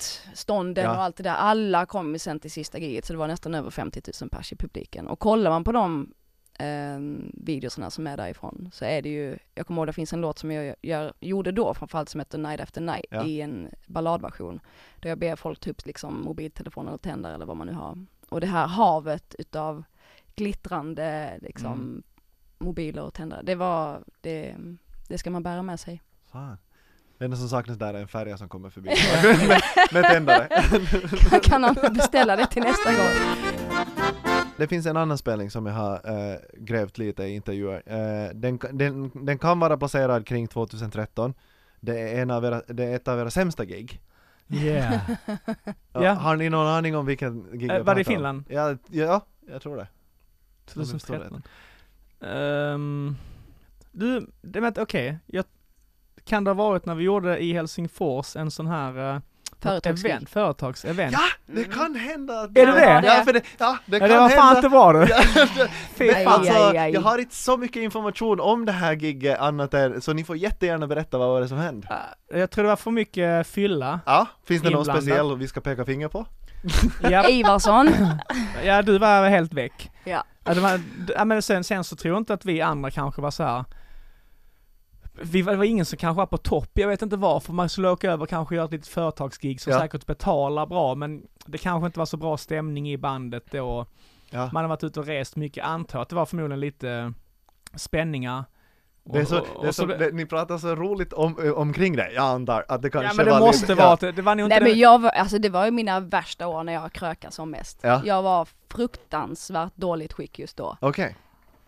S3: matstånden
S2: Ja.
S3: och allt det där, alla kom ju sen till sista giget så det var nästan över 50 000 pers i publiken. Och kollar man på de eh, videorna som är därifrån så är det ju, jag kommer ihåg det finns en låt som jag, jag gjorde då framförallt som heter Night After Night
S2: Ja.
S3: i en balladversion. Där jag ber folk ta upp liksom mobiltelefoner och tändare eller vad man nu har. Och det här havet utav glittrande liksom
S4: Mm.
S3: mobiler och tändare, det var, det, det ska man bära med
S4: (laughs)
S3: sig.
S2: Fan. Det enda som saknas där är en färja som kommer förbi (laughs) med, med tändare.
S3: kan han beställa det till nästa gång?
S2: Det finns en annan spelning som jag har eh, grävt lite i intervjuer. Eh, den, den, den kan vara placerad kring 2013. Det är, en av era, det är ett av era sämsta gig.
S4: Yeah.
S2: (laughs)
S4: (laughs)
S2: Ja,
S4: Ja.
S2: Har ni någon aning om vilken gig jag
S4: Eh, var det i
S2: pratar om?
S4: Finland?
S2: Ja, ja, jag tror det.
S4: 2013. Ehm, du, det vet okej, jag kan det ha varit när vi gjorde i Helsingfors en sån här uh,
S3: Företagsgig.
S4: event, företagsevent?
S2: Ja, det kan hända! Att
S4: Är det det?
S2: Ja, för det, ja, det
S4: Ja,
S2: kan
S4: (laughs) det var fan
S2: hända!
S4: inte var du!
S2: Ja, (laughs)
S4: Fy
S3: Nej.
S4: fan.
S2: alltså,
S3: aj, aj.
S2: jag har inte så mycket information om det här giget annat än, så ni får jättegärna berätta vad var det som hände.
S4: Eh, Jag tror det var för
S3: (laughs)
S4: mycket fylla.
S2: Ja, finns det någon
S4: Inblandad.
S2: speciell vi ska peka finger på?
S4: Ja, (laughs)
S3: Ivarsson,
S4: ja du var helt väck.
S3: Ja.
S4: det var, d- ja men sen, sen så tror jag inte att vi andra kanske var så här. Vi var, det var ingen som kanske var på topp, jag vet inte varför, man skulle åka över och kanske göra ett litet företagsgig som
S2: Ja.
S4: säkert betalar bra men det kanske inte var så bra stämning i bandet då.
S2: Ja.
S4: Man har varit ute och rest mycket, antar att det var förmodligen lite spänningar.
S2: Det är så,
S4: Och- och-
S2: det är
S4: och
S2: så, det, ni pratar så roligt om, ö, omkring det, jag antar att det kanske
S4: ja men det
S2: var
S4: måste
S2: lite,
S4: vara, att det, det var nog inte
S3: nej men
S4: det.
S3: jag var, alltså det var ju mina värsta år när jag krökade som mest.
S2: Ja.
S3: Jag var fruktansvärt dåligt skick just då.
S2: Ja. Okej,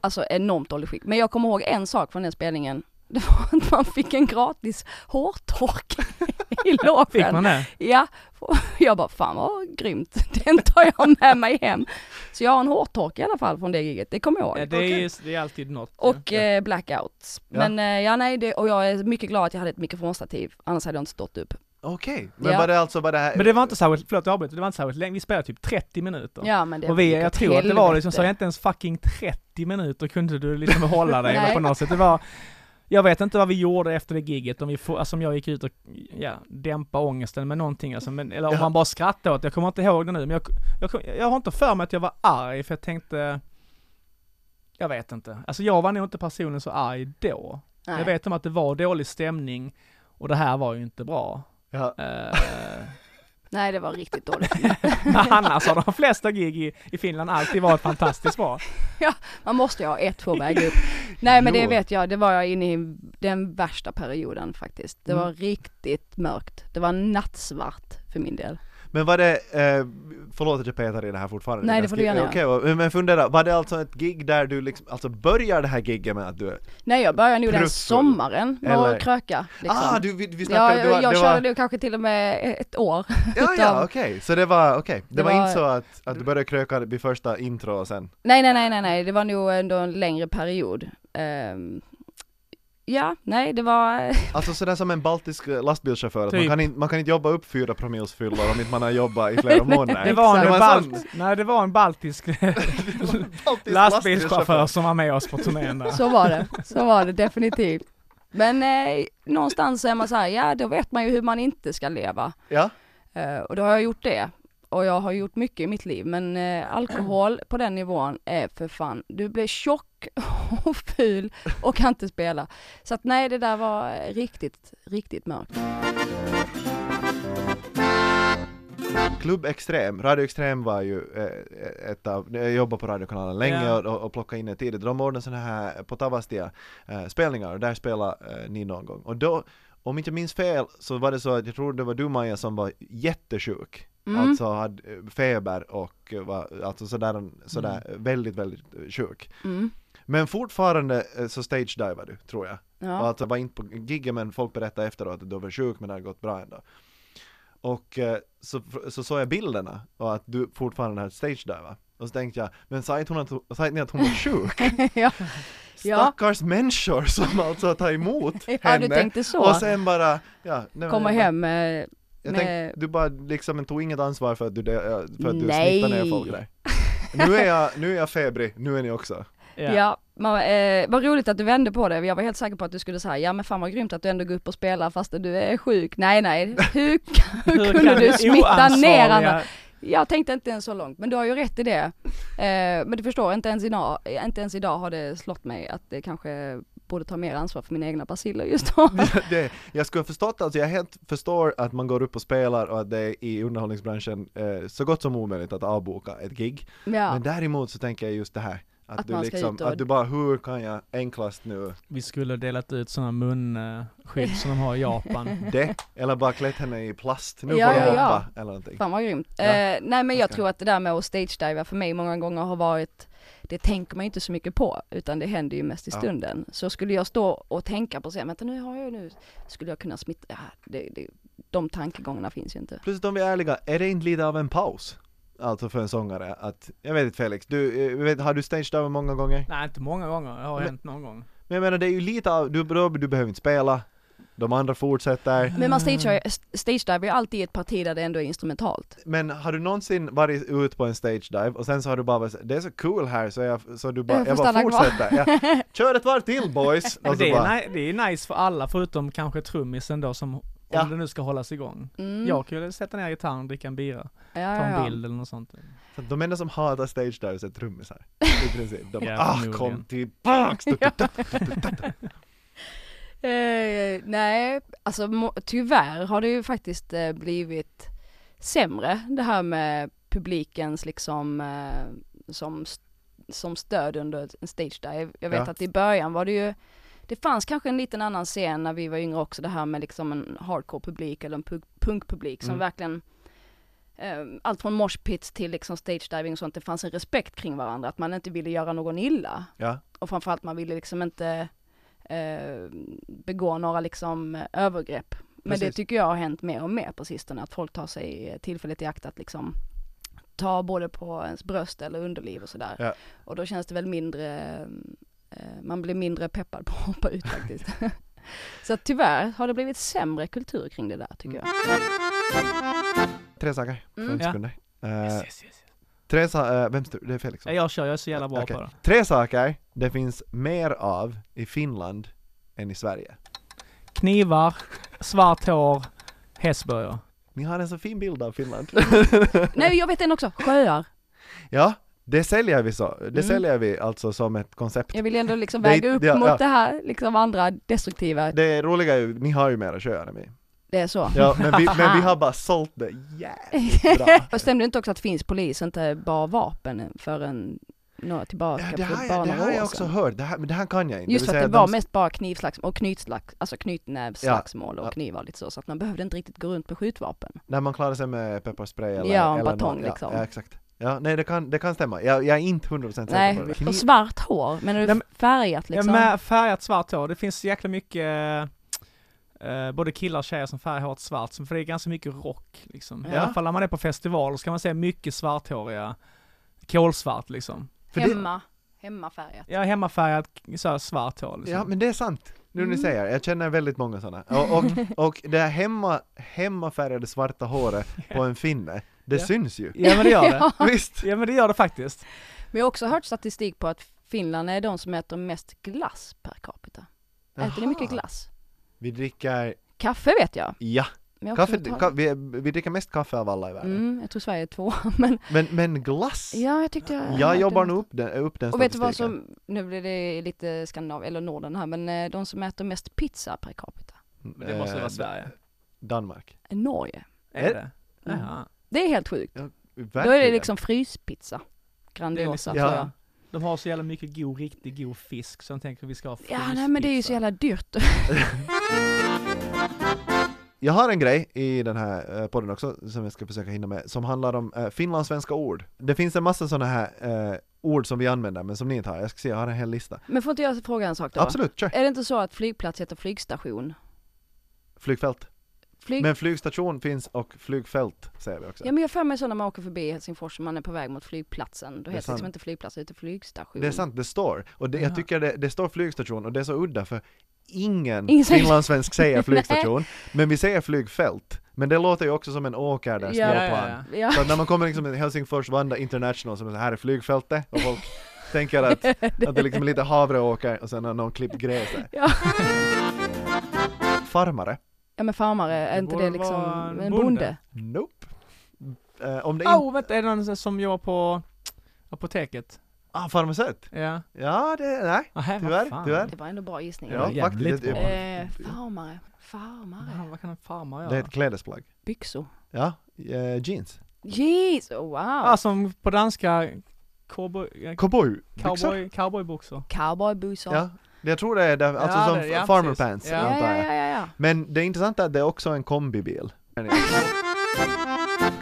S3: Alltså enormt dåligt skick. Men jag kommer ihåg en sak från den spelningen. Det var att man fick en gratis hårtork (laughs) i
S4: Fick
S3: loven.
S4: man det?
S3: Ja, (laughs) jag bara fan vad grymt. (laughs) Den tar jag med mig hem. Så jag har en hårtork i alla fall från det giget, det kommer jag ihåg.
S4: Ja, det, är, ju- det är alltid något. ju.
S3: Och eh, blackouts.
S2: Ja.
S3: Men eh, ja nej, det, och jag är mycket glad att jag hade ett mikrofonstativ, annars hade jag inte stått upp.
S2: okej. Men
S3: Ja.
S2: var det alltså bara det här?
S4: Men det var inte särskilt, förlåt jag avbryter, det var inte särskilt länge, vi spelade typ 30 minuter.
S3: Ja men det
S4: och vi,
S3: gick
S4: jag
S3: åt
S4: tror att det var liksom så,
S3: helvete.
S4: inte ens fucking 30 minuter kunde du liksom hålla dig eller
S3: Nej.
S4: på något sätt. Det var, jag vet inte vad vi gjorde efter det giget om vi får, alltså om jag gick ut och, ja, dämpa ångesten med någonting alltså, men, eller om
S2: Ja.
S4: man bara skrattade åt det. Jag kommer inte ihåg det nu, men jag, jag, kom- jag har inte för mig att jag var arg, för jag tänkte, jag vet inte. Alltså jag var nog inte personen så arg då.
S3: Nej.
S4: Jag vet om att det var dålig stämning, och det här var ju inte bra.
S2: Ja.
S4: Eh,
S3: Nej det var riktigt
S4: (laughs)
S3: dåligt.
S4: Men annars har de flesta gig i, i Finland alltid varit fantastiskt bra.
S3: Man måste ju ha ett på väg upp. Nej men det
S2: Jo.
S3: vet jag, det var jag inne i den värsta perioden faktiskt.
S4: Mm.
S3: Det var riktigt mörkt. Det var nattsvart för min del.
S2: Men var det, eh, förlåt att jag petar i det här fortfarande.
S3: Nej,
S2: är
S3: det får
S2: ganska-
S3: du gärna
S2: eh, Okej, och- men fundera, var det alltså ett gig där du liksom, alltså börjar det här giget med att du är,
S3: Nej jag började nog den
S2: Prufffull.
S3: sommaren med
S2: Eller-
S3: att kröka. Liksom.
S2: ah du, vi, vi
S3: ja,
S2: snackade,
S3: jag,
S2: du var,
S3: jag
S2: det var,
S3: körde nog kanske till och med ett år. (laughs)
S2: ja ja
S3: utav-
S2: okej, så det var, okej, det,
S3: Det
S2: var,
S3: var-
S2: inte så att, att du började kröka vid första intro och sen,
S3: Nej, nej, nej, nej, nej, det var nog ändå en längre period. Ehm, ja, nej, det var, (laughs)
S2: alltså sådär som en baltisk eh, lastbilschaufför, att man,
S4: Typ.
S2: kan inte, man kan inte jobba upp fyra promils fyllor om inte man har jobbat i flera månader.
S4: Det var, en
S2: Det var
S4: balt-
S2: sant.
S4: nej, det var en baltisk
S2: Baltisk
S4: lastbilschaufför som var med oss på turnén där.
S3: så var det, så var det definitivt. Men eh, någonstans så är man så här, ja då vet man ju hur man inte ska leva.
S2: Ja,
S3: Eh, och då har jag gjort det. och jag har gjort mycket i mitt liv, men eh, alkohol på den nivån är för fan, du blir tjock (laughs) och ful och kan inte spela. Så att nej, det där var eh, riktigt, riktigt mörkt.
S2: Klubb Extrem, Radio Extrem var ju eh, ett av, jag jobbade på radiokanalen länge
S4: Ja.
S2: och, och, och plockade in det tidigt. De ordnade sådana här på Tavastia eh, spelningar och där spelade eh, ni någon gång. Och då, om inte jag minns fel, så var det så att jag tror det var du Maja som var jättesjuk.
S3: Mm.
S2: Alltså hade eh, feber och var alltså sådär, sådär
S4: Mm.
S2: väldigt, väldigt eh, sjuk.
S3: Mm.
S2: Men fortfarande eh, så stage-divar du, tror jag.
S3: Ja.
S2: Och alltså var inte på giggen men folk berättade efteråt att du var sjuk men det hade gått bra ändå. Och eh, så, så såg jag bilderna och att du fortfarande hade stage diva. Och så tänkte jag, men sa inte hon att, sa inte ni att
S3: (laughs)
S2: hon var sjuk?
S3: (laughs) ja. Ja.
S2: Stackars människor som alltså tar emot
S3: (laughs) ja, du
S2: henne.
S3: tänkte
S2: och
S3: så.
S2: sen bara, ja. nej,
S3: Komma
S2: men jag,
S3: hem eh,
S2: Jag
S3: med-
S2: tänkte, du bara liksom tog inget ansvar för att du, de- för att du
S3: Nej.
S2: smittade ner folk där. Nu är jag, nu är jag febrig, nu är ni också.
S4: Ja.
S3: Ja, man, eh, vad roligt att du vände på det. Jag var helt säker på att du skulle säga, ja men fan vad grymt att du ändå går upp och spelar fast du är sjuk. Nej nej, hur, (laughs) hur kunde
S4: kan
S3: du smitta ner andra?
S4: oansvariga-
S3: Jag tänkte inte ens så långt, men du har ju rätt i det. Eh, men du förstår, inte ens, idag, inte ens idag har det slått mig att det kanske borde ta mer ansvar för mina egna baciller just då.
S2: (laughs) det, jag skulle ha förstått, alltså jag helt förstår att man går upp och spelar och att det är i underhållningsbranschen eh, så gott som omöjligt att avboka ett gig.
S3: (laughs) ja.
S2: Men däremot så tänker jag just det här, att,
S3: Att
S2: du
S3: man ska
S2: liksom,
S3: ut och-
S2: att du bara hur kan jag enklast nu
S4: Vi skulle ha delat ut sådana munskydd eh, som de har i Japan.
S3: (laughs)
S2: det, eller bara klätt henne i plast, nu
S3: Ja,
S2: får du
S3: ja, ja.
S2: hoppa, eller någonting.
S3: Fan vad grymt.
S2: Ja.
S3: Eh, nej men jag
S2: Ska-
S3: tror att det där med att stage-diva för mig många gånger har varit, det tänker man ju inte så mycket på, utan det händer ju mest i
S2: Ja.
S3: stunden. Så skulle jag stå och tänka på så här, vänta nu har jag nu, skulle jag kunna smitta, ja, det, det, de tankegångarna finns ju inte.
S2: Plus om vi är ärliga, är det inte lite av en paus? Alltså för en sångare att, jag vet inte Felix, du, eh, vet, har du staged över många gånger?
S4: (laughs) Nej, inte många gånger. Det har
S2: Men-
S4: hänt någon gång.
S2: Men jag menar det är ju lite av, du, du, du behöver inte spela, de andra fortsätter.
S3: Men man stage- stage-divar ju alltid i ett parti där det ändå är instrumentalt.
S2: Men har du någonsin varit ut på en stage dive och sen så har du bara varit så- det är så cool här så jag, så du bara,
S3: Jag
S2: jag,
S3: får
S2: bara
S3: stanna kvar."
S2: fortsätter.
S3: (laughs)
S2: Jag, Kör ett varv till boys!
S4: Men
S2: Och så
S4: det, är
S2: bara,
S4: ni- det är nice för alla förutom kanske trummisen då som, om
S2: Ja.
S4: det nu ska hållas igång.
S3: Mm.
S4: Jag kunde sätta ner gitarren, dricka en bira,
S3: ja,
S4: ta
S3: ja,
S4: en
S3: ja.
S4: bild eller något sånt.
S2: så de enda som hatar stage dives är trummisar. I princip. De bara,
S4: Ja,
S2: ah
S4: förmodligen.
S2: kom tillbaks!
S3: (laughs) Eh, nej, alltså må- tyvärr har det ju faktiskt eh, blivit sämre det här med publikens liksom eh, som, st- som stöd under en stage dive. Jag vet
S2: Ja.
S3: att i början var det ju det fanns kanske en liten annan scen när vi var yngre också, det här med liksom en hardcore publik eller en punk- punkpublik som
S2: Mm.
S3: verkligen eh, allt från moshpits till liksom stage diving och sånt, det fanns en respekt kring varandra, att man inte ville göra någon illa
S2: Ja,
S3: och framförallt man ville liksom inte eh, begå några liksom eh, övergrepp. Men det
S2: Precis.
S3: tycker jag har hänt mer och mer på sistone, att folk tar sig tillfället i akt att liksom ta både på ens bröst eller underliv och sådär.
S2: Ja.
S3: Och då känns det väl mindre, eh, man blir mindre peppad på att hoppa ut
S2: (laughs)
S3: faktiskt. Så att tyvärr har det blivit sämre kultur kring det där tycker jag.
S2: Mm. tre saker på
S3: Mm.
S2: fem
S4: Ja.
S2: sekunder. Eh,
S4: Yes, yes, yes.
S2: tre sa- eh, vem styr? Det är Felix.
S4: Ja, jag kör, jag är så jävla bra
S2: Okej.
S4: på det.
S2: Tre saker det finns mer av i Finland än i Sverige.
S4: Knivar, svart hår, hästböjor.
S2: Ni har en så fin bild av
S3: (laughs)
S2: Finland.
S3: Nej jag vet en också, sjöar.
S2: ja, det säljer vi så, det
S3: Mm.
S2: säljer vi alltså som ett koncept.
S3: Jag vill ändå liksom
S2: Det är-
S3: väga upp
S2: ja,
S3: mot
S2: ja.
S3: det här liksom andra destruktiva,
S2: Det roliga är ju, ni har ju mera sjöar än vi.
S3: det är så.
S2: Ja, men vi, men vi har bara sålt det jävligt bra.
S3: (laughs) Och stämde det inte också att finsk polis inte bar vapen förrän några tillbaka,
S2: Ja, det
S3: för
S2: har
S3: bara
S2: jag, det
S3: några
S2: har jag
S3: år
S2: också
S3: sedan?
S2: hört, det här, men det här kan jag inte.
S3: Just
S2: vill
S3: för att
S2: säga
S3: det var
S2: de-
S3: mest bara knivslagsmål och knytslags, alltså knytnävsslagsmål och knivar och lite så, så att man behövde inte riktigt gå runt med skjutvapen.
S2: När man klarar sig med pepparspray eller...
S3: Ja, en
S2: eller
S3: batong
S2: någon-
S3: liksom.
S2: Ja, ja, exakt. Ja, nej det kan, det kan stämma. Jag, jag är inte 100% säker
S3: Nej,
S2: på det.
S3: och
S2: Kniv-
S3: svart hår, men är
S4: Nej,
S3: det
S4: men-
S3: färgat liksom?
S4: Ja, med färgat svart hår, det finns jäkla mycket eh, eh, både killar och tjejer som färgar håret svart, så- för det är ganska mycket rock liksom. I
S2: Ja.
S4: alla fall när man är på festivaler så kan man se mycket svarthåriga, kolsvart liksom.
S2: för det-
S3: Hemma, hemmafärgat.
S4: Ja, hemmafärgat så här, svart hår liksom.
S2: Ja, men det är sant. Nu när ni
S3: Mm.
S2: säger det. jag känner väldigt många sådana. Och, och,
S3: (laughs)
S2: och det här hemma, hemmafärgade svarta håret på en finne, det
S4: Ja.
S2: syns ju.
S4: (laughs) Ja men det gör det.
S2: Visst?
S4: Ja men det gör det faktiskt.
S3: Men jag har också hört statistik på att Finland är de som äter mest glass per capita. Äter ni mycket
S2: Jaha.
S3: glass?
S2: Vi dricker,
S3: Kaffe vet jag.
S2: ja,
S3: Men jag
S2: Kaffe,
S3: tror
S2: ka,
S3: Italien-
S2: vi, vi dricker mest kaffe av alla i världen.
S3: Mm, jag tror Sverige är två, men
S2: Men, men glass?
S3: ja, jag tyckte jag...
S2: jag
S3: hörde
S2: jobbar
S3: något.
S2: nog upp den, upp den
S3: Och vet du vad
S2: statistiken.
S3: som, nu blir det lite Skandinavien, eller Norden här, men eh, de som äter mest pizza per capita,
S4: Men det måste
S2: Eh,
S4: vara Sverige.
S2: Danmark.
S3: är Norge.
S2: är-
S4: Är det?
S3: Mm.
S4: Jaha.
S3: Det är helt sjukt. Då är det
S2: Verkligen.
S3: liksom fryspizza. Grandiosa
S4: liksom-
S3: tror
S2: ja.
S3: jag.
S4: De har så jävla mycket god, riktigt god fisk så de tänker att vi ska ha liksom.
S3: Ja, nej
S4: fryspizza.
S3: men det är ju så jävla dyrt.
S2: Jag har en grej i den här eh, podden också som jag ska försöka hinna med, som handlar om eh, finlandssvenska ord. Det finns en massa sådana här eh, ord som vi använder men som ni inte har. Jag ska se, jag har en hel lista.
S3: Men får inte jag fråga en sak då?
S2: Absolut, kör!
S3: Är det inte så att flygplats heter flygstation?
S2: Flygfält.
S3: Flyg...
S2: Men flygstation finns och flygfält säger vi också.
S3: Ja men jag får mig så när man åker förbi Helsingfors och man är på väg mot flygplatsen, då
S2: är
S3: heter det
S2: sant.
S3: liksom inte flygplats utan flygstation.
S2: Det är sant, det står. Och det, jag
S4: Jaha.
S2: tycker det, det står flygstation och det är så udda för ingen,
S3: Ingen säger-
S2: finlandssvensk säger flygstation, men vi säger flygfält. Men det låter ju också som en åker där,
S3: Ja,
S4: Ja,
S2: småplan.
S4: ja, ja.
S3: Ja,
S2: Så att när man kommer liksom till Helsingfors Vanda International som är så här är flygfältet och folk tänker
S3: (laughs)
S2: att, att det liksom är lite havreåker och sen har någon klippt gräs där.
S3: Ja.
S2: Farmare?
S3: ja men farmare, är
S4: Det
S3: inte
S4: borde
S3: det liksom
S4: vara
S3: en
S4: en
S3: bonde?
S4: bonde.
S2: Nope. Eh, om det inte...
S4: Åh, vänta, är det någon som jobbar på apoteket?
S2: Ah, farmaceut?
S4: Ja.
S2: Ja, det... Nej.
S4: Nej, vad
S2: Tyvärr,
S4: fan.
S2: tyvärr.
S3: Det var ändå bra gissning.
S2: Ja,
S4: jävligt
S2: faktiskt.
S4: bra.
S2: Det, typ-
S3: Eh, farmare, farmare,
S4: Fan, vad kan en farmare göra?
S2: det är ett klädesplagg.
S3: byxor.
S2: Ja, eh, jeans.
S3: Jeez, oh, wow!
S4: Ah, som på danska, cowboy, eh,
S2: Cowboy. Byxor?
S4: cowboy, cowboybyxor.
S3: Cowboybyxor.
S2: Ja. Jag tror det är där, alltså
S4: Ja,
S2: som
S4: det- ja,
S2: farmer
S4: precis.
S2: pants,
S4: Ja.
S3: ja,
S2: antar
S3: ja,
S2: jag.
S3: ja, ja, ja.
S2: Men det intressanta är att det är också en kombibil.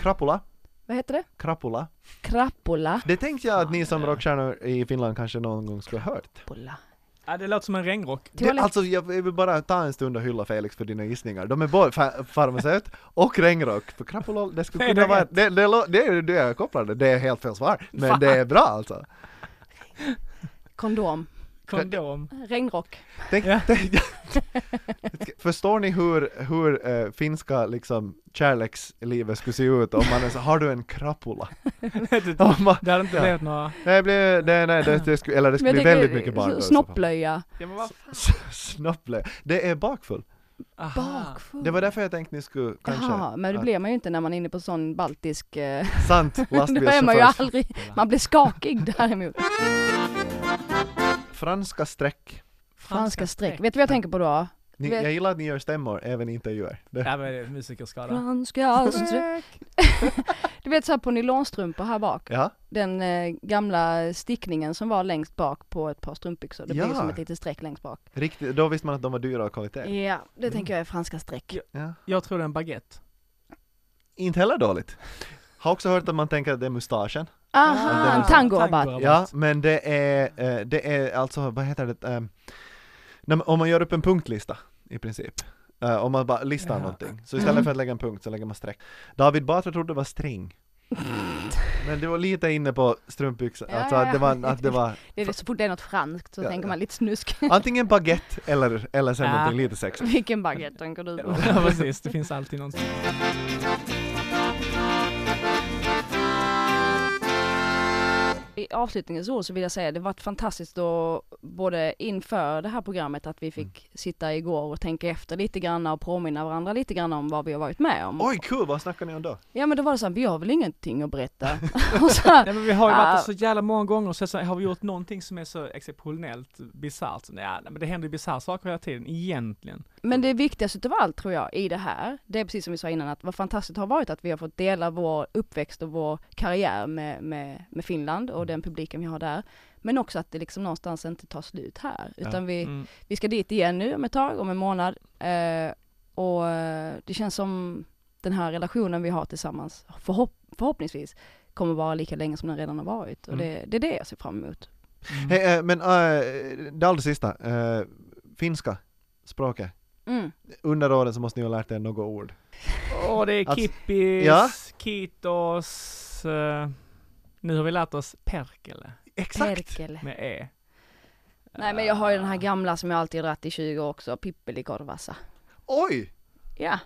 S2: Krapula.
S3: Vad heter det?
S2: Krapula.
S3: Krapula.
S2: Det tänkte jag att
S4: Fan,
S2: ni som
S4: det-
S2: rockstjärnor i Finland kanske någon gång skulle ha hört.
S3: Krapula.
S4: Ja, det låter som en regnrock.
S2: Det,
S3: Toalett.
S2: alltså jag vill bara ta en stund och hylla Felix för dina gissningar. De är både fa- farmaceut och regnrock. För krapulol, det skulle
S4: Nej,
S2: kunna
S4: det är
S2: vara... Det, det, lå- det är ju det jag kopplade, det är helt fel svar. Men
S4: Fan.
S2: det är bra alltså.
S3: Kondom.
S4: Kondom.
S3: Regnrock.
S2: Tänk,
S4: Ja. (laughs)
S2: tänk, förstår ni hur, hur eh, finska liksom, kärlekslivet skulle se ut om man är så, har du en krapula? (laughs) Om man,
S4: det hade inte blivit några...
S2: nej, det blir, nej, nej, det, det skulle, eller det skulle
S3: Men
S2: bli
S3: jag
S2: väldigt
S3: tänker,
S2: mycket barn.
S3: Snopplöja.
S4: Ja, men vad
S2: (laughs) Snopple. Det är bakfull.
S4: Aha.
S3: Ah. Bakfull.
S2: Det var därför jag tänkte ni skulle kanske...
S3: Jaha, men det
S2: att-
S3: blir man ju inte när man är inne på sån baltisk... Eh,
S2: Sant,
S3: (laughs) då är man ju
S2: lastbilschaufför.
S3: aldrig... Man blir skakig
S2: (laughs)
S3: däremot.
S2: Franska streck.
S3: Franska streck. Vet du vad jag tänker på då?
S2: Ni,
S3: Vet-
S2: jag gillar att ni gör stämmor även i intervjuer. Det,
S4: Ja, men det är musikerskada.
S3: Franska streck. (laughs) Du vet så här på nylonstrumpor här bak.
S2: ja,
S3: Den eh, gamla stickningen som var längst bak på ett par strumpbyxor. Det
S2: Ja.
S3: blir som ett litet streck längst bak.
S2: riktigt, då visste man att de var dyra av kvalitet.
S3: Ja, det tänker jag är franska streck.
S4: Ja.
S2: Ja.
S4: Jag tror det är en baguette.
S2: Inte heller dåligt. Har också hört att man tänker att det är mustaschen.
S3: Aha, en tangorabatt.
S2: Ja, men det är, eh, det är alltså, vad heter det, ehm, när man- om man gör upp en punktlista i princip. Eh, om man bara listar
S4: Ja.
S2: någonting. Så istället för att lägga en punkt så lägger man streck. David Batra trodde det var string. Men du var lite inne på strumpbyxor,
S3: Ja,
S2: alltså
S3: ja,
S2: att det
S3: ja.
S2: var, att det var
S3: Det är det, så fort det är något franskt så
S2: Ja,
S3: tänker
S2: ja.
S3: man lite (laughs) snusk.
S2: antingen baguette eller, eller sen
S4: Ja.
S2: någonting lite sexigt.
S3: Vilken baguette tänker du på?
S4: Ja, (laughs) precis. Det finns alltid någonting.
S3: I avslutningens ord så vill jag säga det var fantastiskt då både inför det här programmet att vi fick sitta igår och tänka efter lite grann och påminna varandra lite grann om vad vi har varit med om.
S2: Oj, kul! Vad snackar ni om då?
S3: Ja men då var det så här, vi har väl ingenting att berätta. och så här,
S4: (laughs) Nej men vi har ju varit där
S3: Ah.
S4: så jävla många gånger och så, så har vi gjort någonting som är så exceptionellt bisarrt. Så, Ja, nej, men det händer ju bisarra saker hela tiden, egentligen.
S3: men det viktigaste utav allt tror jag i det här, det är precis som vi sa innan att vad fantastiskt det har varit att vi har fått dela vår uppväxt och vår karriär med, med, med Finland och den publiken vi har där. Men också att det liksom någonstans inte tar slut här utan
S2: Ja.
S3: vi,
S4: Mm.
S3: vi ska dit igen nu om ett tag, om en månad. Eh, och eh, det känns som den här relationen vi har tillsammans, förhopp förhoppningsvis, kommer vara lika länge som den redan har varit. Och
S4: Mm.
S3: det, det är det jag ser fram emot.
S4: Mm.
S2: Hej, eh, men äh, det allra sista, eh, finska språket.
S3: Mm.
S2: Under åren så måste ni ha lärt er något ord.
S4: Åh, det är
S2: Alltså,
S4: kippis,
S2: ja.
S4: kitos, eh, nu har vi lärt oss perkele
S3: Perkele.
S4: med e.
S3: Nej men jag har ju den här gamla som jag alltid har dragit i 20 år också, Pippelikorvassa.
S2: Oj!
S3: Ja,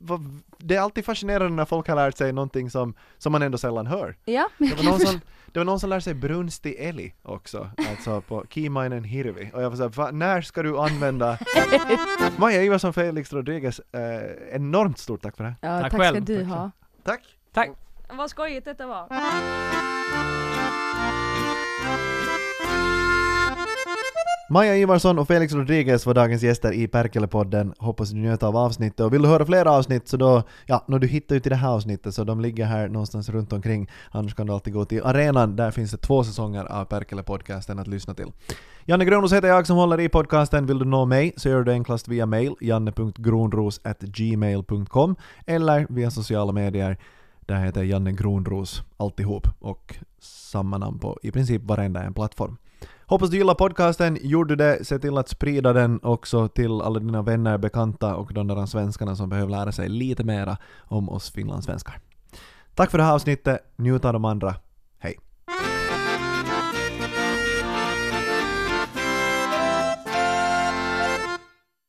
S2: vad- det är alltid fascinerande när folk har lärt sig någonting som, som man ändå sällan hör.
S3: Ja, men
S2: Det var någon som, det var någon som lärde sig brunstig älg också, alltså på Kiimainen hirvi. Och jag var såhär, "Va, när ska du använda Maja Ivarsson, Felix Rodriguez, eh, enormt stort tack för det här.
S3: ja,
S4: Tack
S3: tack ska
S4: själv.
S3: du
S4: Tack
S3: ha.
S2: Tack!
S4: Tack!
S3: Vad skojigt detta var.
S2: Maja Ivarsson och Felix Rodriguez var dagens gäster i Perkele-podden. Hoppas du njöt av avsnittet och vill du höra fler avsnitt så då, ja, när du hittar ju till det här avsnittet så de ligger här någonstans runt omkring. Annars kan du alltid gå till arenan, där finns det två säsonger av Perkele-podcasten att lyssna till. Janne Grönros heter jag som håller i podcasten. Vill du nå mig så gör du det enklast via mail, janne.gronros.gmail.com eller via sociala medier. Där heter jag Janne Gronros alltihop och samma namn på i princip varenda en plattform. Hoppas du gillar podcasten. Gjorde du det, se till att sprida den också till alla dina vänner, bekanta och de där svenskarna som behöver lära sig lite mera om oss finlandssvenskar. Tack för det här avsnittet. Njut av de andra.